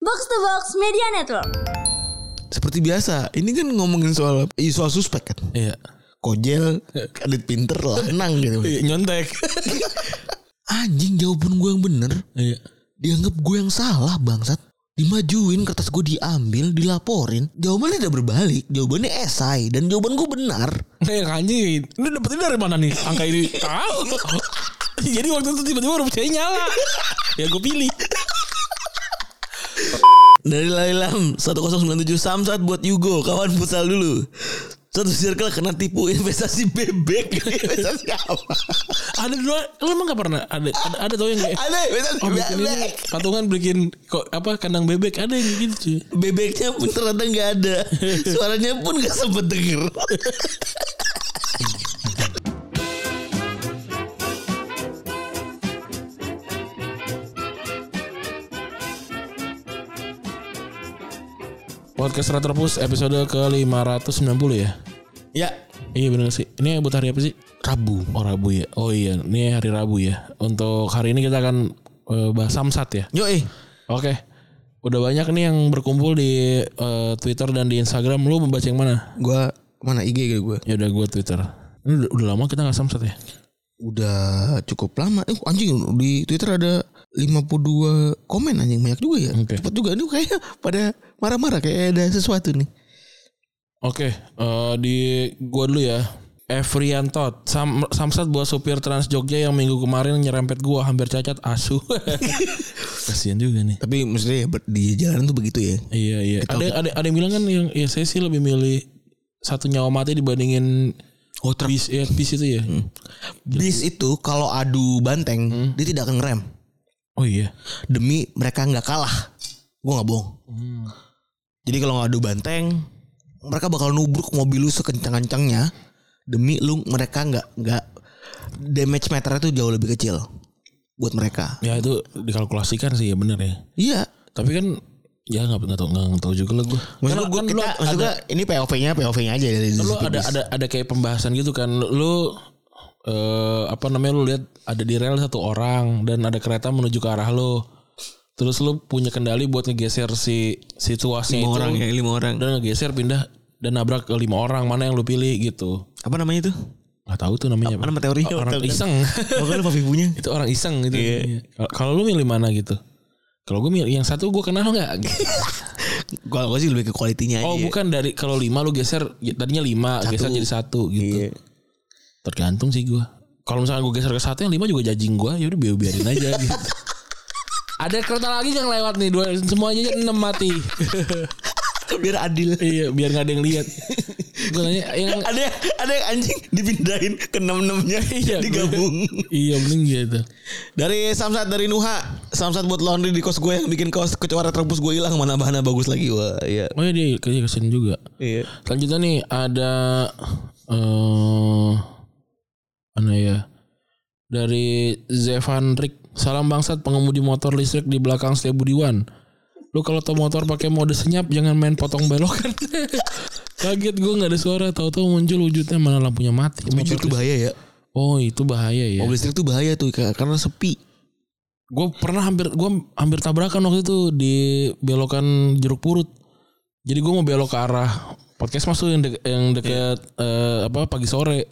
Box to Box Media Network. Seperti biasa, ini kan ngomongin soal eh, soal suspek kan. Iya. Kojel, kadit pinter, lanang gitu. Iya, Nyontek. Anjing jawaban gue yang bener Iya. dianggap gue yang salah bangsat. Dimajuin kertas gue diambil, dilaporin. Jawabannya tidak berbalik, jawabannya esai dan jawaban gue benar. Eh anjing, lu dapetin dari mana nih angka ini? Tahu. Jadi waktu itu tiba-tiba huruf C nyala. Ya gue pilih. Dari Lailam 1097 Samsat buat Yugo Kawan futsal dulu Satu circle kena tipu investasi bebek Investasi apa? Ada dua, lu emang gak pernah ada ada, ada tau yang kayak Ada investasi oh, bikin ini, bebek patungan bikin kok apa kandang bebek ada yang gitu cuy. Bebeknya pun ternyata nggak ada Suaranya pun gak sempet denger Podcast Retropus episode ke 590 ya. Ya Iya bener sih. Ini buat hari apa sih? Rabu Oh Rabu ya. Oh iya, ini hari Rabu ya. Untuk hari ini kita akan eh, bahas samsat ya. Yo eh Oke. Udah banyak nih yang berkumpul di eh, Twitter dan di Instagram. Lu membaca yang mana? Gue mana IG gitu gue Ya udah gue Twitter. Ini udah, udah lama kita nggak samsat ya. Udah cukup lama Eh anjing di Twitter ada 52 komen anjing banyak juga ya Oke. Cepet juga Ini kayaknya pada marah-marah Kayak ada sesuatu nih Oke, eh, di gua dulu ya. Evriantot, Sam, samsat buat supir Trans Jogja yang minggu kemarin nyerempet gua hampir cacat asu. Kasian juga nih. Tapi maksudnya ya, ber- di jalan tuh begitu ya Iya iya. Ada ada ada yang bilang kan yang ya saya sih lebih milih satu nyawa mati dibandingin oh, bis ya bis itu ya. Bis itu kalau adu banteng dia tidak akan ngerem Oh iya. demi mereka nggak kalah. Gue nggak bohong. Jadi kalau ngadu banteng mereka bakal nubruk mobil lu sekencang-kencangnya demi lu mereka nggak nggak damage meternya tuh jauh lebih kecil buat mereka. Ya itu dikalkulasikan sih ya bener ya. Iya. Tapi kan ya nggak nggak tahu nggak tahu juga lah gue. Maksud Kan- gua kan kita, lu maksud ada- gua ini POV-nya POV-nya aja dari lu sisi ada bis. ada ada kayak pembahasan gitu kan lu eh, apa namanya lu lihat ada di rel satu orang dan ada kereta menuju ke arah lu terus lu punya kendali buat ngegeser si situasi itu lima orang. ya? dan ngegeser pindah dan nabrak ke lima orang mana yang lu pilih gitu Apa namanya itu? nggak tahu tuh namanya apa Apa Iya, nama teori? orang iseng Pokoknya lupa vibunya. itu orang iseng gitu Iya. Kalau- kalau lu milih mana gitu kalau gue milih yang satu gue kenal nggak gitu. Kalau gue sih lebih ke kualitinya oh aja. bukan dari kalau lima lu geser ya, tadinya lima geser jadi satu Iya. gitu Tergantung sih gua Kalau misalnya gue geser ke satu yang lima juga jajing gua ya udah biar biarin aja gitu. Ada kereta lagi yang lewat nih dua semuanya aja enam mati. Biar adil. iya biar nggak ada yang lihat. Gue nanya yang ada ada yang anjing dipindahin ke enam enamnya Iya, digabung iya mending gitu. dari Samsat dari Nuha Samsat buat laundry di kos gue yang bikin kos kecuara terbus gue hilang mana bahannya bagus lagi wah iya Oh iya dia kerja kesini juga. iya Selanjutnya nih ada eh mana ya? Dari Zevan Rick. Salam bangsat pengemudi motor listrik di belakang Setia Budiwan. Lu kalau tau motor pakai mode senyap jangan main potong belokan. Kaget gue nggak ada suara, tahu-tahu muncul wujudnya mana lampunya mati. jujur Motor tuh listrik. bahaya ya Oh itu bahaya ya. mobil listrik tuh bahaya tuh Kak, karena sepi Gue pernah hampir gue hampir tabrakan waktu itu di belokan jeruk purut. Jadi gue mau belok ke arah podcast mas tuh yang, dek- yang dekat eh, apa pagi sore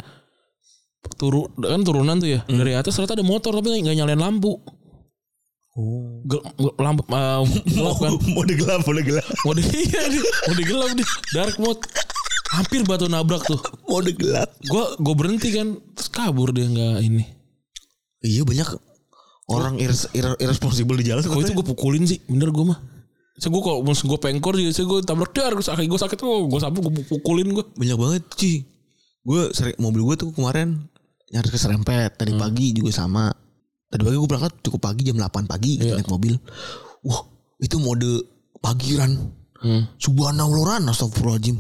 turu kan turunan tuh ya dari atas ternyata ada motor tapi nggak- nggak nyalain lampu. oh Gel, gel- lampu eh, gelap kan. mode gelap mode gelap Mode iya, dia. mode gelap dia. Dark mode. Hampir batu nabrak tuh. mode gelap Gue gue berhenti kan terus kabur dia nggak ini. iya banyak orang irres- irre- irresponsible di jalan Kok itu gue pukulin sih bener gue mah. So gue kalau mus gue pengkor juga sih gue tabrak dar gue sakit gue sakit Oh, tuh gue sapu gue pukulin gue. banyak banget sih gue sering mobil gue tuh kemarin nyaris keserempet tadi Hmm. pagi juga sama tadi pagi gue berangkat cukup pagi jam 8 pagi Iya. gitu naik mobil wah itu mode pagiran Hmm. subhanallah astagfirullahaladzim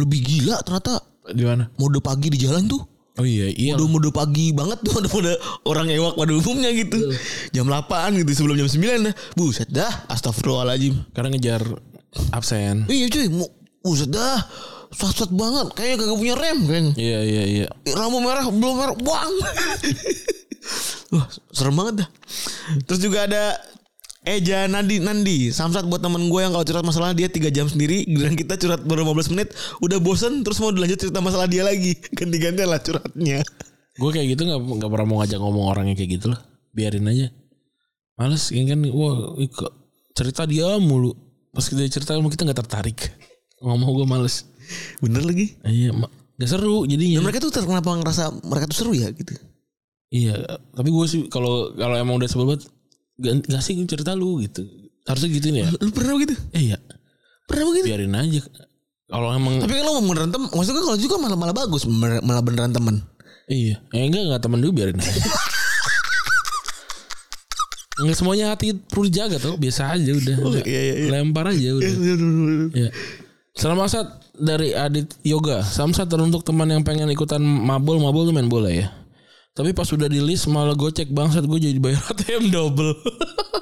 lebih gila ternyata Gimana? mode pagi di jalan tuh Oh iya iya. udah mode pagi banget tuh mode, mode orang ewak pada umumnya gitu Iya. jam 8 gitu sebelum jam 9 dah buset dah astagfirullahaladzim Karena ngejar absen. iya cuy mu- buset dah sat banget kayaknya kagak punya rem kayaknya Iya iya iya. lampu merah belum merah buang wah serem banget dah terus juga ada Eja Nandi Nandi Samsat buat temen gue yang kalau curhat masalah dia 3 jam sendiri Giliran kita curhat baru 15 menit Udah bosen terus mau dilanjut cerita masalah dia lagi Ganti-gantian lah curhatnya Gue kayak gitu nggak nggak pernah mau ngajak ngomong orangnya kayak gitu lah. Biarin aja. Males yang kan wah ih, kok cerita dia mulu. Pas kita cerita sama kita nggak tertarik. Ngomong gue males. Bener lagi Iya, ma- nggak seru jadinya. Dan mereka tuh ter- kenapa ngerasa mereka tuh seru ya gitu Iya, tapi gue sih kalau kalau emang udah sebel banget gan- nggak sih cerita lu gitu. Harusnya gituin ya. Lu pernah begitu? Iya. Eh, iya, Pernah begitu? biarin aja. Kalau emang Tapi kalau mau beneran temen Maksudnya kan kalau juga malah, malah bagus mer- Malah beneran temen iya, eh, enggak enggak temen dulu biarin aja. Enggak semuanya hati perlu dijaga tuh, biasa aja udah. Udah, iya, iya, iya. Lempar aja udah. Iya. Salam Asad dari Adit Yoga. Samsat teruntuk teman yang pengen ikutan mabol mabol tuh main bola ya. Tapi pas sudah di list malah gocek bangsat gue jadi bayar ATM double.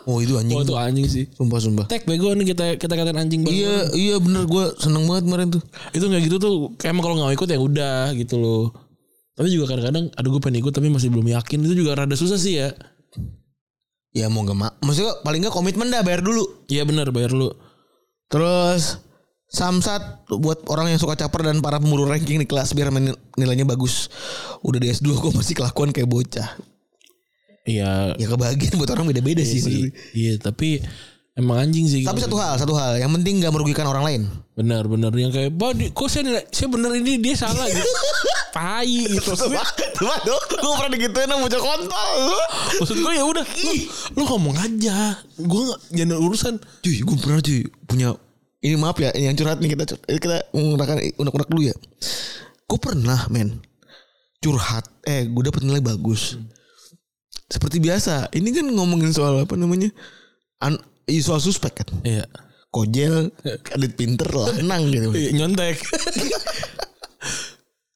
Oh itu anjing Wah itu anjing sih. Sumpah-sumpah Tek bego nih kita kita katain anjing banget. Iya iya bener gue seneng banget kemarin tuh Itu nggak gitu tuh kayak emang kalau nggak mau ikut ya udah gitu loh. Tapi juga kadang-kadang aduh gue pengen ikut tapi masih belum yakin itu juga rada susah sih ya. Ya mau gak mau Maksudnya paling gak komitmen dah bayar dulu Iya benar bayar lu. Terus Samsat buat orang yang suka caper dan para pemburu ranking di kelas biar men- nilainya bagus. Udah di S2 gue masih kelakuan kayak bocah. Iya. Ya kebahagiaan buat orang beda-beda sih. sih. maksudnya. Iya tapi emang anjing sih. Tapi satu hal, satu hal yang penting gak merugikan orang lain. benar benar yang kayak bah di- kok saya nilai- saya bener ini dia salah gitu. Tai gitu. Maksud- Coba dong, gue pernah digituin sama bocah kontol. Maksud gue ya udah lu, lu ngomong aja. Gue nggak jangan urusan. Cuy, gue pernah cuy punya ini maaf ya ini yang curhat nih kita cur- kita menggunakan unek-unek dulu ya. Gue pernah men curhat eh gue dapet nilai bagus. Seperti biasa ini kan ngomongin soal apa namanya an i- soal suspek kan. Iya. Kojel, kadit pinter lah, enang gitu. Iya, Nyontek.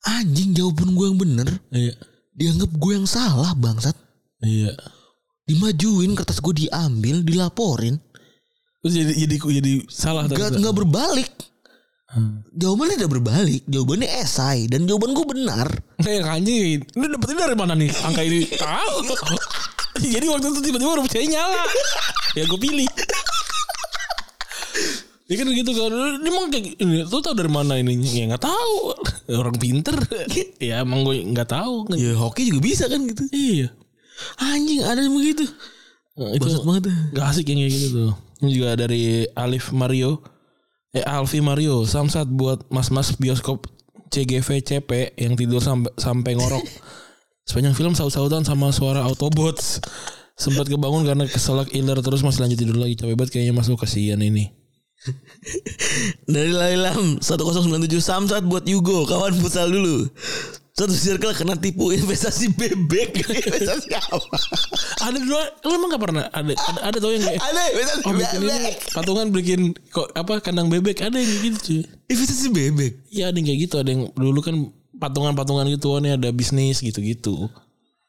Anjing jawaban gue yang bener Iya. dianggap gue yang salah bangsat. Iya. Dimajuin kertas gue diambil, dilaporin, Terus jadi jadi jadi salah tapi gak enggak. nggak berbalik. Hmm. Jawabannya tidak berbalik, jawabannya esai dan jawaban gue benar. Kayak Eh, anjing Ini dapetin dari mana nih Angka ini Tahu Jadi waktu itu tiba-tiba rumah saya nyala Ya gue pilih Ya kan gitu kan Ini emang kayak ini, Lu tau dari mana ini Ya gak tahu Orang pinter Ya emang gue gak tahu Ya hoki juga bisa kan gitu. Iya Anjing ada yang begitu. Itu Bangsat banget. ya. dah. Gak asik yang kayak gitu tuh Ini juga dari Alif Mario Eh Alfi Mario Samsat buat mas-mas bioskop CGV CP Yang tidur sampai sampai ngorok Sepanjang film saut-sautan sama suara Autobots Sempat kebangun karena keselak iler Terus masih lanjut tidur lagi Capek banget kayaknya masuk kasihan ini Dari Lailam 1097 Samsat buat Yugo kawan futsal dulu. Satu circle kena tipu investasi bebek. investasi apa? Ada dua Lu emang gak pernah Ada ada, ada tau yang kayak Ada investasi Oh bikin ini bebek. Patungan bikin kok, apa Kandang bebek Ada yang gitu cuy Investasi bebek. Iya ada yang kayak gitu Ada yang dulu kan Patungan-patungan gitu oh, Ini ada bisnis gitu-gitu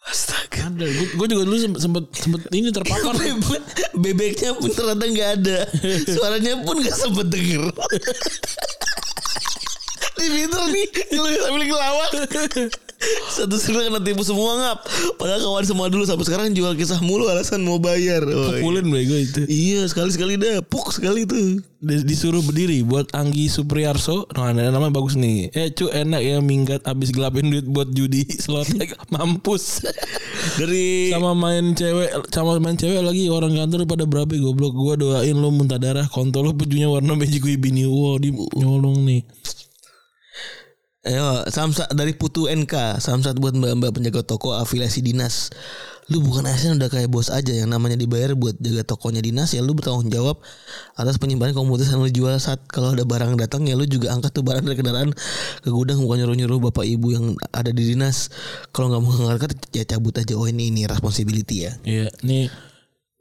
Astaga. Ada, gue juga dulu sempet sempet, sempet ini terpapar. Bebek- Bebeknya pun ternyata nggak ada. Suaranya pun nggak sempet denger. Di pinter nih, ngeluh sambil ngelawak. Satu circle kena tipu semua ngap. Padahal kawan semua dulu sampai sekarang jual kisah mulu alasan mau bayar. Woy. Pukulin bego itu. Iya sekali sekali dah puk sekali tuh. Di- Disuruh berdiri buat Anggi Supriyarso. Nah, ada nama bagus nih. Eh, cu enak ya minggat abis gelapin duit buat judi slot mampus. Dari sama main cewek, sama main cewek lagi orang kantor pada berabe goblok. Gua doain lo muntah darah. Kontol lo pejunya warna beji gue bini. Wow, di nyolong nih. ayo, Samsat dari Putu NK Samsat buat mbak-mbak penjaga toko afiliasi dinas Lu bukan ASN udah kayak bos aja Yang namanya dibayar buat jaga tokonya dinas Ya lu bertanggung jawab Atas penyimpanan komoditas yang lu jual Saat kalau ada barang datang Ya lu juga angkat tuh barang dari kendaraan Ke gudang bukan nyuruh-nyuruh bapak ibu yang ada di dinas Kalau nggak mau ngangkat ya cabut aja Oh ini ini responsibility ya Iya, nih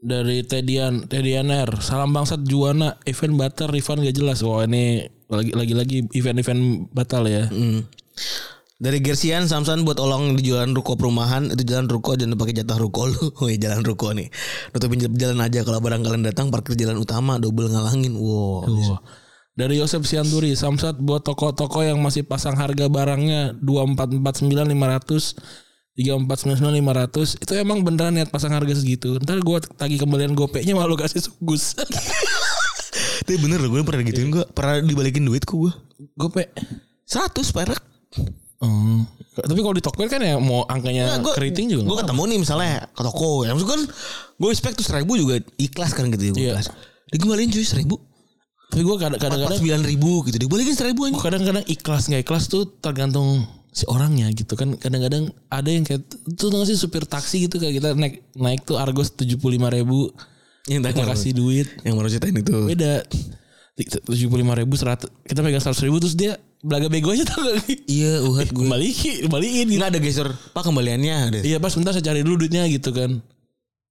dari Tedian, Tedian R. Salam bangsat Juwana, event batal, refund gak jelas. Wah, ini lagi lagi lagi event-event batal ya. Hmm. Dari Gersian Samson buat olong di jalan ruko perumahan itu jalan ruko jangan pakai jatah ruko lu. Woi jalan ruko nih. Nutupin jel- jalan aja kalau barang kalian datang parkir jalan utama double ngalangin. Wow. Wah. Dari Yosep Sianturi, Samsat buat toko-toko yang masih pasang harga barangnya 2449 500 tiga empat itu emang beneran niat pasang harga segitu ntar gue tagih kembalian gopeknya malu kasih sugus Tapi bener loh gue pernah gituin gue pernah dibalikin duit gue. gopek 100 perak. Hmm. tapi kalau di Tokped kan ya mau angkanya keriting juga Gue nggak ketemu nih misalnya ke toko. Ya maksud kan gue respect tuh seribu juga ikhlas kan gitu ya gue Iya. ikhlas. Dikembaliin cuy seribu. apa. tapi gue kadang- kadang-kadang Sembilan ribu gitu. Dibalikin seribu aja. Gua kadang-kadang ikhlas nggak ikhlas tuh tergantung si orangnya gitu kan kadang-kadang ada yang kayak tuh tau nggak sih supir taksi gitu kayak kita naik naik tuh argos tujuh puluh lima ribu Yang tadi kita Iya, kasih duit Yang baru ceritain itu. beda tujuh puluh lima ribu seratus kita pegang seratus ribu terus dia belaga bego aja tau gak Iya uhat gue. balikin balikin gitu. Enggak ada gesture. Pak kembaliannya ada. iya pas bentar saya cari dulu duitnya gitu kan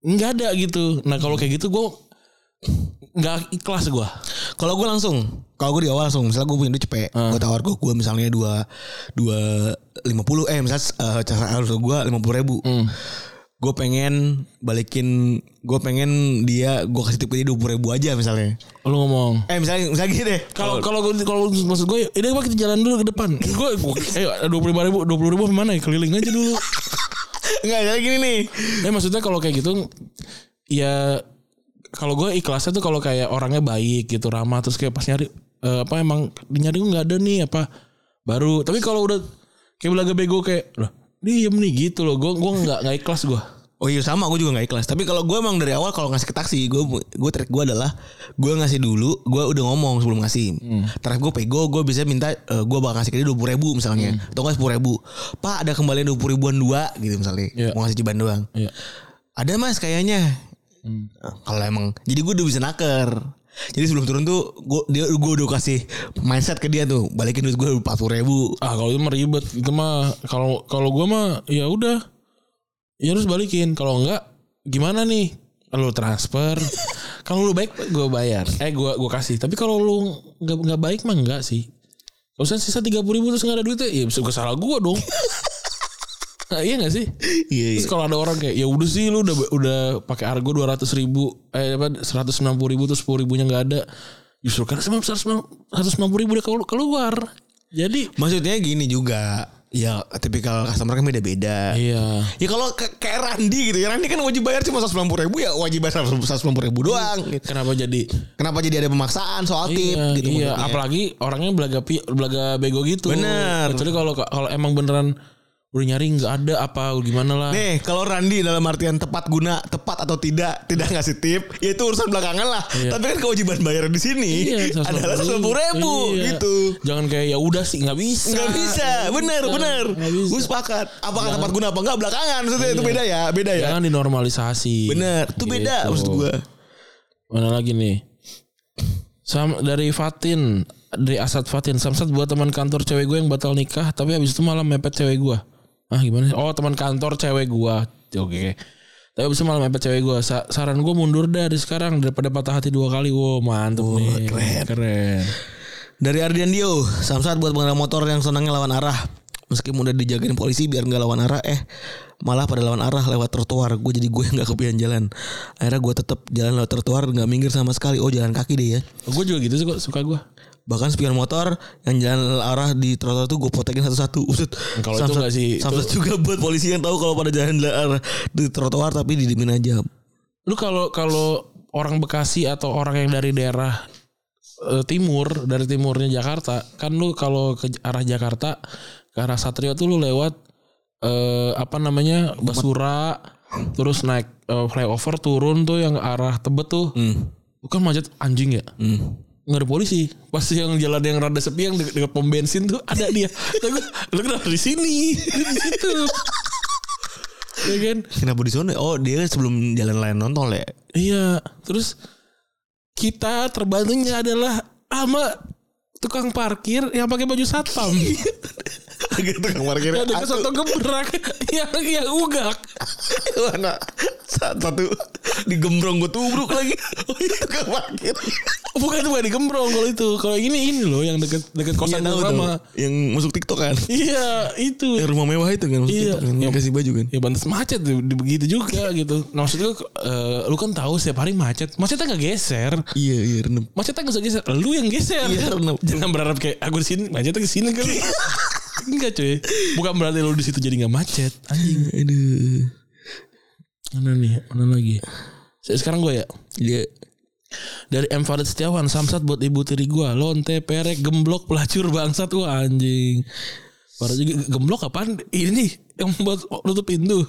nggak ada gitu nah kalau kayak gitu gue nggak ikhlas gue Kalau gue langsung, kalau gue di awal langsung, misalnya gue punya duit cepet, gue tawar gue, gue misalnya dua dua lima puluh, eh misalnya eh, cara harus gue lima puluh ribu, gue pengen balikin, gue pengen dia, gue kasih tip ke dia dua puluh ribu aja misalnya. lu ngomong Eh misalnya misalnya gini deh, Kalau kalau gua- kalau maksud gue, ini pak kita jalan dulu ke depan. Gue eh dua puluh ribu, dua puluh ribu mana ya keliling aja dulu. enggak misalnya gini nih, Eh maksudnya kalau kayak gitu, ya kalau gue ikhlasnya tuh kalau kayak orangnya baik gitu ramah terus kayak pas nyari eh, apa emang nyari gue nggak ada nih apa baru. Tapi kalau udah kayak belaga bego kayak loh diem nih gitu loh. Gue gue nggak nggak ikhlas gue. Oh iya sama gue juga gak ikhlas Tapi kalau gue emang dari awal kalau ngasih ke taksi Gue gue trik gue adalah Gue ngasih dulu Gue udah ngomong sebelum ngasih Terakhir gue pego Gue bisa minta eh, Gue bakal ngasih ke dia 20 ribu misalnya Atau gak 10 ribu Pak ada kembalian 20 ribuan dua Gitu misalnya Iya. Mau ngasih ciban doang Iya. Ada mas kayaknya Eh, Kalau emang Jadi gue udah bisa naker Jadi sebelum turun tuh Gue dia, gue udah kasih mindset ke dia tuh Balikin duit gue 40 ribu Ah kalau itu mah ribet itu mah kalau kalau gue mah ya udah ya harus balikin kalau enggak gimana nih kalau transfer kalau lu baik gue bayar eh gue gua kasih tapi kalau lu nggak nggak baik mah enggak sih kalau misalnya sisa tiga puluh ribu terus nggak ada duitnya ya bisa salah gue dong Nah, iya gak sih? Iya Terus kalau ada orang kayak ya udah sih lu udah udah pakai argo dua ratus ribu eh apa seratus enam puluh ribu terus sepuluh ribunya nggak ada justru karena seratus enam puluh ribu udah kelu- keluar jadi Maksudnya gini juga Ya tipikal customer kan beda-beda Iya. Ya kalau ke- kayak Randi gitu ya Randi kan wajib bayar cuma 190 ribu ya wajib bayar 190 ribu doang gitu. Kenapa jadi Kenapa jadi ada pemaksaan soal tip iya, gitu iya. maksudnya. apalagi orangnya belaga pi, belaga bego gitu. Bener. Kecuali kalau kalau emang beneran udah nyari nggak ada apa gimana lah. Nih kalau Randi dalam artian tepat guna Tepat atau tidak Tidak ngasih tip Ya itu urusan belakangan lah Iya. Tapi kan kewajiban bayar di sini Adalah 190 ribu Iya. gitu Jangan kayak ya udah sih nggak bisa. Nggak bisa Bener bener Nggak bisa. Iya. Gue sepakat Apakah tepat guna apa enggak Belakangan maksudnya itu beda ya Beda ya Jangan dinormalisasi. Bener Itu beda Gitu. maksud gue Mana lagi nih? Sam dari Fatin, dari Asad Fatin, Samsat buat teman kantor cewek gue yang batal nikah, tapi habis itu malah mepet cewek gue. Ah gimana? sih? Oh teman kantor cewek gue. Oke. Tapi habis itu malah mepet cewek gue. Sa- saran gue mundur dari sekarang daripada patah hati dua kali. Wow mantep nih. Keren. Dari Ardian Dio, Samsat buat pengendara motor yang senangnya lawan arah. Meskipun udah dijagain polisi biar nggak lawan arah, eh malah pada lawan arah lewat trotoar. Gue jadi gue yang nggak kepikiran jalan. Akhirnya gue tetap jalan lewat trotoar nggak minggir sama sekali. Oh jalan kaki deh ya. Gue juga gitu suka, suka gue. Bahkan spion motor yang jalan arah di trotoar tuh gue potekin satu-satu. Usut. Kalau itu Samsat- nggak sih, Samsat juga buat polisi yang tahu kalau pada jalan arah di trotoar tapi didimin aja. Lu kalau kalau orang Bekasi atau orang yang dari daerah eh, timur dari timurnya Jakarta, kan lu kalau ke arah Jakarta ke arah Satrio tuh lu lewat eh, apa namanya Basura, terus naik eh, flyover turun tuh yang arah Tebet tuh, bukan macet anjing ya? Hmm. nggak ada polisi pasti yang jalan yang rada sepi yang dekat, dekat pom bensin tuh ada dia tapi lu kenapa di sini Lu di situ ya kan Kenapa di sana? Oh dia sebelum jalan lain nonton ya. Iya, terus kita terbantunya adalah sama tukang parkir yang pakai baju satpam. Iya. Gitu tukang parkir. yang dekat soto gebrak yang yang ugak. mana satu, satu digembrong gue tubruk lagi tukang parkir Bukan tuh bukan digembrong kalau itu. Kalau ini ini loh yang dekat Iya, dekat kosan tahu gua tuh. lama. yang masuk tiktok kan Iya, itu. yang rumah mewah itu kan masuk Iya. tiktok kan yang kasih baju kan Ya bantes macet di, di- begitu juga gitu. Nah, maksud gua eh, lu kan tahu setiap hari macet. Macetnya nggak geser. iya iya renem Macetnya nggak usah geser. Lu yang geser. Iya, bener. Jangan berharap kayak aku di sini, macetnya ke sini kali. Enggak cuy. Bukan berarti lu di situ jadi nggak macet. Anjing. Aduh. Mana nih? Mana lagi? Se- Sekarang gue ya. Iya. Dari M Farid Setiawan, Samsat buat ibu tiri gue. Lonte, perek, gemblok, pelacur, bangsat. Wah anjing. Parah juga gemblok apaan? Ini yang buat nutup pintu.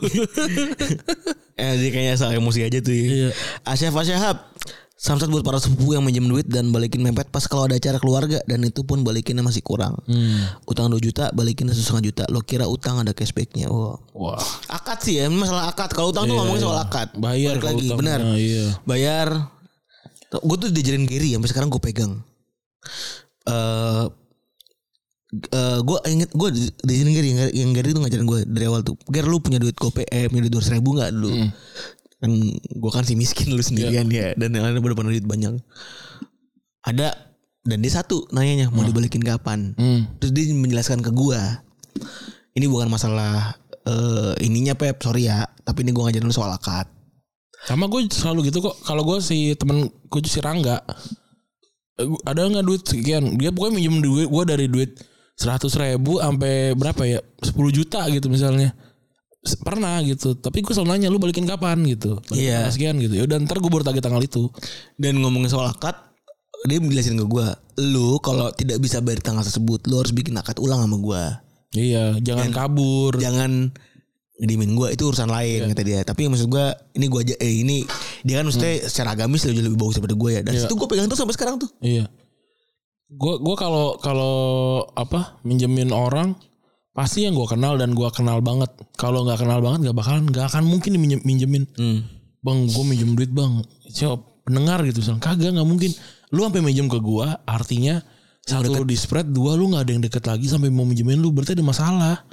Eh dia kayaknya salah emosi aja tuh. Iya. Iya. Asyaf Asyahab. Samsat buat para sepupu yang minjem duit dan balikin mepet pas kalau ada acara keluarga dan itu pun balikinnya masih kurang. Utang 2 juta balikin setengah juta. Lo kira utang ada cashbacknya? Wah. Wah. Akad sih ya, ini masalah akad. Kalau utang tuh ngomongin soal akad. Iya. Bayar Balik kalau lagi, utang. benar. Nah, iya. Bayar. Gue tuh diajarin Gary sampai sekarang gue pegang. Eh eh gue inget gue diajarin Gary yang, yang Gary tuh ngajarin gue dari awal tuh. Ger lu punya duit gope eh punya duit dua ribu nggak dulu? Hmm. Kan gue kan si miskin lu sendirian ya Iya. dan yang lain udah punya duit banyak. Ada dan dia satu nanyanya mau dibalikin kapan? Hmm. Terus dia menjelaskan ke gua ini bukan masalah eh ininya Pep, sorry ya, tapi ini gua ngajarin lu soal akad. Sama gue selalu gitu kok. Kalau gue si temen gue si Rangga. eh, gua- Ada nggak duit sekian? Dia pokoknya minjem duit gue dari duit seratus ribu sampai berapa ya? 10 juta gitu misalnya. S- Pernah gitu. Tapi gue selalu nanya lu balikin kapan gitu. Balikin Iya. tanggal Sekian gitu. Yaudah ntar gue baru tagih tanggal itu. Dan ngomongin soal akad, dia jelasin ke gua, lu kalau tidak bisa bayar tanggal tersebut, lu harus bikin akad ulang sama gua. Iya. Jangan kabur. Jangan ngedimin gua itu urusan lain kata dia. Tapi maksud gua ini gua aja eh ini dia kan maksudnya secara agamis lebih lebih bagus daripada gua ya. Dan Iya. situ gua pegang tuh sampai sekarang tuh. Iya. Gua gua kalau kalau apa minjemin orang pasti yang gua kenal dan gua kenal banget. Kalau nggak kenal banget nggak bakalan nggak akan mungkin minjem, minjemin. Hmm. Bang, gua minjem duit, Bang. Siapa pendengar gitu misalnya. Kagak nggak mungkin. Lu sampai minjem ke gua artinya satu lu di spread, dua lu nggak ada yang deket lagi sampai mau minjemin lu berarti ada masalah.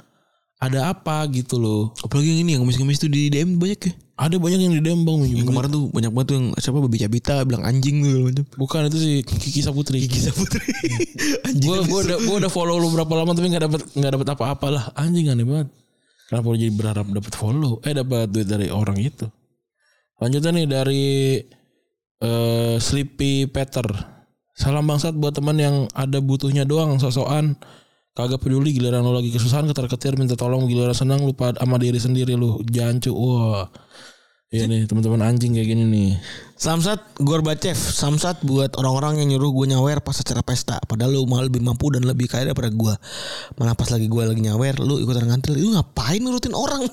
Ada apa gitu loh. Apalagi yang ini yang ngemis-ngemis tuh di DM banyak ya. Ada banyak yang didembang Yang minjem. duit. kemarin tuh banyak banget tuh yang siapa babi cabita bilang anjing tuh segala macam. Bukan itu si Kiki Saputri. Gisa Putri. Anjing. gue gua udah gua udah follow lu berapa lama tapi nggak dapet nggak dapet apa-apa lah anjing aneh banget kenapa lu jadi berharap dapet follow eh dapat duit dari orang itu lanjutnya nih dari eh Sleepy Peter salam bangsat buat teman yang ada butuhnya doang sosokan kagak peduli giliran lu lagi kesusahan ketar-ketir minta tolong giliran senang lupa sama diri sendiri lu jancu wah Iya nih teman-teman anjing kayak gini nih. Samsat Gorbachev Samsat buat orang-orang yang nyuruh gue nyawer pas acara pesta Padahal lu malah lebih mampu dan lebih kaya daripada gue Malah pas lagi gue lagi nyawer Lu ikutan ngantil Lu ngapain nurutin orang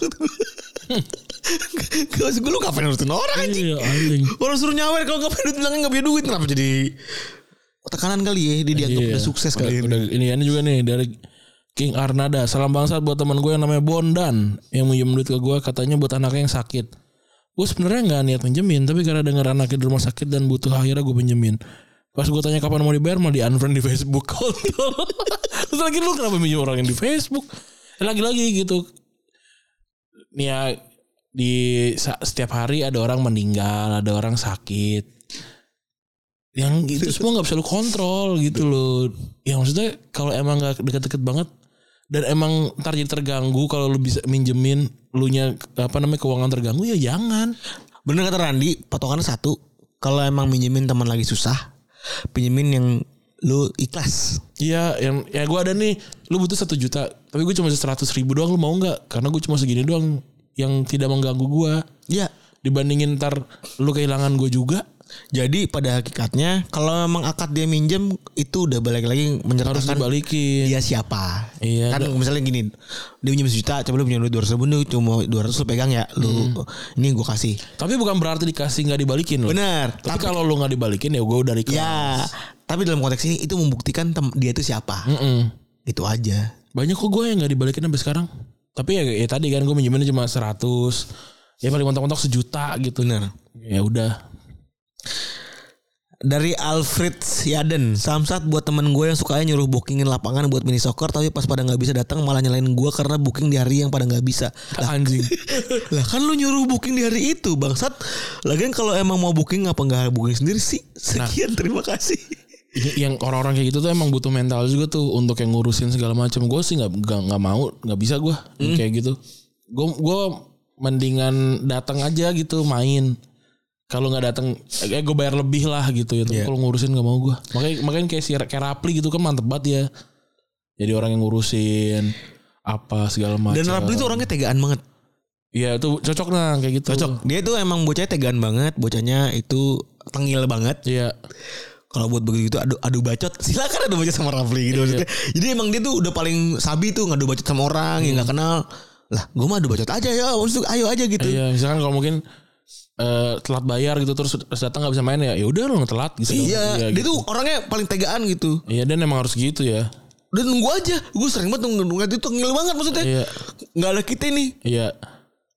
Gak maksud gue lu ngapain nurutin orang anjing Iya anjing. Orang suruh nyawer kalau ngapain nurutin orang gak punya duit Kenapa jadi Tekanan kali ya Dia dianggap Iya. udah sukses kali ini Udah- udah- ini. ini juga nih dari King Arnada. Salam bangsat buat teman gue yang namanya Bondan yang minjem duit ke gue katanya buat anaknya yang sakit. Gue sebenarnya nggak niat minjemin tapi karena denger anaknya di rumah sakit dan butuh akhirnya gue pinjemin. Pas gue tanya kapan mau dibayar malah di unfriend di Facebook kontol. Terus lagi lu kenapa minjem orang yang di Facebook? Eh, Lagi-lagi gitu. Nih ya di sa- setiap hari ada orang meninggal, ada orang sakit yang itu semua nggak bisa lu kontrol gitu loh ya maksudnya kalau emang nggak deket-deket banget dan emang ntar jadi terganggu kalau lu bisa minjemin lu nya apa namanya keuangan terganggu ya jangan Bener kata Randi Patokannya satu Kalau emang minjemin teman lagi susah Pinjemin yang lu ikhlas Iya, yang ya gue ada nih, lu butuh satu juta, tapi gue cuma seratus ribu doang, lu mau nggak? Karena gue cuma segini doang yang tidak mengganggu gue. Iya Dibandingin ntar lu kehilangan gue juga, Jadi pada hakikatnya kalau memang akad dia minjem itu udah balik lagi harus menyertakan dibalikin. dia siapa. Iya, Kan misalnya gini, dia minjem sejuta, coba lu punya duit 200 ribu, lu cuma 200 lu pegang ya, lu Hmm. ini gua kasih. Tapi bukan berarti dikasih nggak dibalikin loh. Benar. Tapi, Tapi, kalau lu nggak dibalikin ya gue udah ikhlas. ya, tapi dalam konteks ini itu membuktikan tem- dia itu siapa. Mm-mm. Itu aja. Banyak kok gue yang gak dibalikin sampai sekarang. Tapi ya, ya tadi kan gue minjemin cuma 100. Ya paling mentok-mentok sejuta gitu. Benar. Ya udah. Dari Alfred Yaden Samsat buat temen gue yang sukanya nyuruh bookingin lapangan buat mini soccer Tapi pas pada gak bisa datang malah nyalain gue karena booking di hari yang pada gak bisa Anjing. lah kan lu nyuruh booking di hari itu bangsat lagian kalau emang mau booking apa nggak booking sendiri sih Nah. sekian terima kasih Y- yang orang-orang kayak gitu tuh emang butuh mental juga tuh untuk yang ngurusin segala macam. Gue sih nggak nggak nggak mau, nggak bisa gue Hmm. yang kayak gitu. Gue gue mendingan datang aja gitu main. Kalau nggak datang, eh gue bayar lebih lah gitu ya. Tapi Iya. Kalau ngurusin nggak mau gue. Makanya makanya kayak si kayak Rapli gitu kan mantep banget ya. Jadi orang yang ngurusin apa segala macam. Dan Rapli itu orangnya tegaan banget. Iya itu cocok nah kayak gitu. Cocok. Dia itu emang bocahnya tegaan banget, bocahnya itu tengil banget. Iya. Kalau buat begitu gitu, adu adu bacot, silakan adu bacot sama Rafli Iya. gitu maksudnya. Jadi emang dia tuh udah paling sabi tuh ngadu bacot sama orang yang Hmm. nggak kenal. Lah, gue mah adu bacot aja ya, maksud ayo aja gitu. Iya misalkan kalau mungkin eh, telat bayar gitu terus terus datang nggak bisa main ya ya udah lu telat gitu. Iya, dia gitu. tuh orangnya paling tegaan gitu. Iya dan emang harus gitu ya. Udah nunggu aja. Gue sering banget nunggu nunggu itu tengil banget maksudnya. Iya. Nggak ada kita nih. Iya.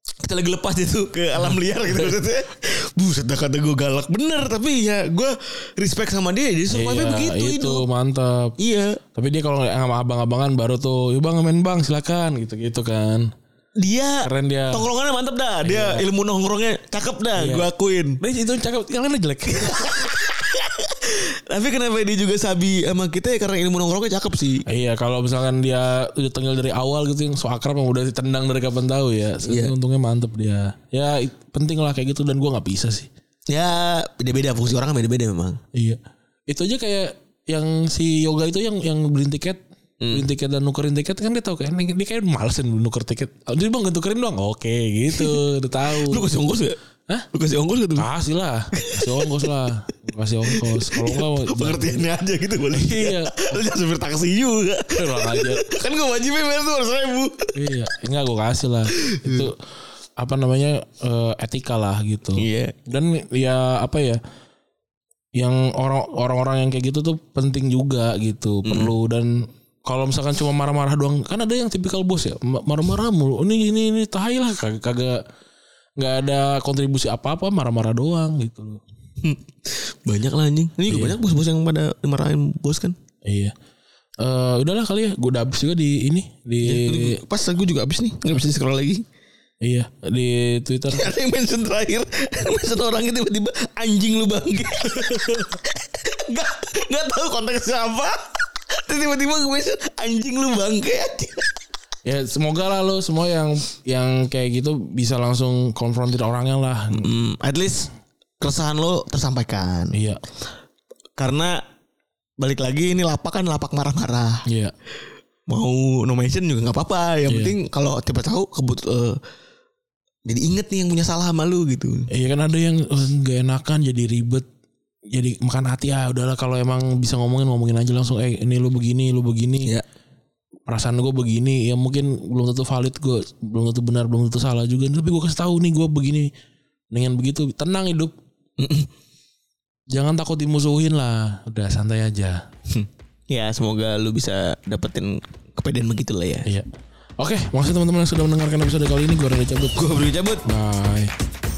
Kita lagi lepas itu ke alam liar gitu maksudnya. Buset dah kata gue galak bener tapi ya gue respect sama dia dia Iya, survive begitu itu hidup. mantap. Iya. Tapi dia kalau ngeliat sama abang-abangan baru tuh, yuk bang main bang silakan gitu-gitu kan. Dia Keren dia. Iya. Tongkrongannya mantep dah. Dia ilmu nongkrongnya cakep dah, gue akuin. Nah itu cakep, kalian jelek. Tapi kenapa dia juga sabi sama kita ya karena ilmu nongkrongnya cakep sih. iya kalau misalkan dia udah tengil dari awal gitu yang so akrab yang udah ditendang dari kapan tahu ya. Sekarang untungnya mantep dia. Ya it- penting lah kayak gitu dan gua nggak bisa sih. Ya beda-beda fungsi orang beda-beda memang. Iya. Itu aja kayak yang si yoga itu yang yang beli tiket Hmm. beli tiket dan nukerin tiket kan dia tahu kan dia kayak malesin nuker tiket oh, dia bang nukerin doang oke gitu udah tahu Lu kasih ongkos gak? Hah? Lu kasih ongkos gitu? gak tuh? kasih lah kasih ongkos lah kasih ongkos kalau enggak Pengertiannya aja gitu boleh. Oh, Iya. Lu jangan supir taksi juga. Kurang aja. kan gue wajibnya bayar tuh harus ribu. iya enggak gue kasih lah Iya. itu apa namanya eh, etika lah gitu Iya. dan ya apa ya yang orang orang-orang yang kayak gitu tuh penting juga gitu perlu dan kalau misalkan cuma marah-marah doang kan ada yang tipikal bos ya ma- marah-marah mulu ini ini ini tai lah kag- kagak nggak ada kontribusi apa-apa marah-marah doang gitu loh Banyak lah anjing. Ini juga banyak bos-bos yang pada marahin bos kan. iya Eh udahlah kali ya gue udah habis juga di ini di Iya, Pas gue juga abis nih. Gak bisa di scroll lagi. iya di Twitter Ada yang mention terakhir Mention orangnya tiba-tiba Anjing lu bangke Gak Gak tau konteksnya apa Terus Tiba-tiba gue mention Anjing lu bangke Ya semoga lah lo semua yang yang kayak gitu bisa langsung konfrontir orangnya lah. hmm, At least Keresahan lo tersampaikan Iya, Karena Balik lagi ini lapak kan lapak marah-marah iya, Mau no mention juga gak apa-apa Yang penting kalau tiba tahu kebut eh, Jadi inget nih yang punya salah sama lu gitu iya kan ada yang eh, nggak enakan jadi ribet, jadi makan hati ah udahlah kalau emang bisa ngomongin ngomongin aja langsung eh ini lo begini lo begini Iya perasaan gue begini ya mungkin belum tentu valid gue belum tentu benar belum tentu salah juga tapi gue kasih tahu nih gue begini dengan begitu tenang hidup jangan takut dimusuhin lah udah santai aja Ya semoga lu bisa dapetin kepedean begitu lah ya iya oke makasih teman-teman yang sudah mendengarkan episode kali ini gue udah cabut Gue beri cabut bye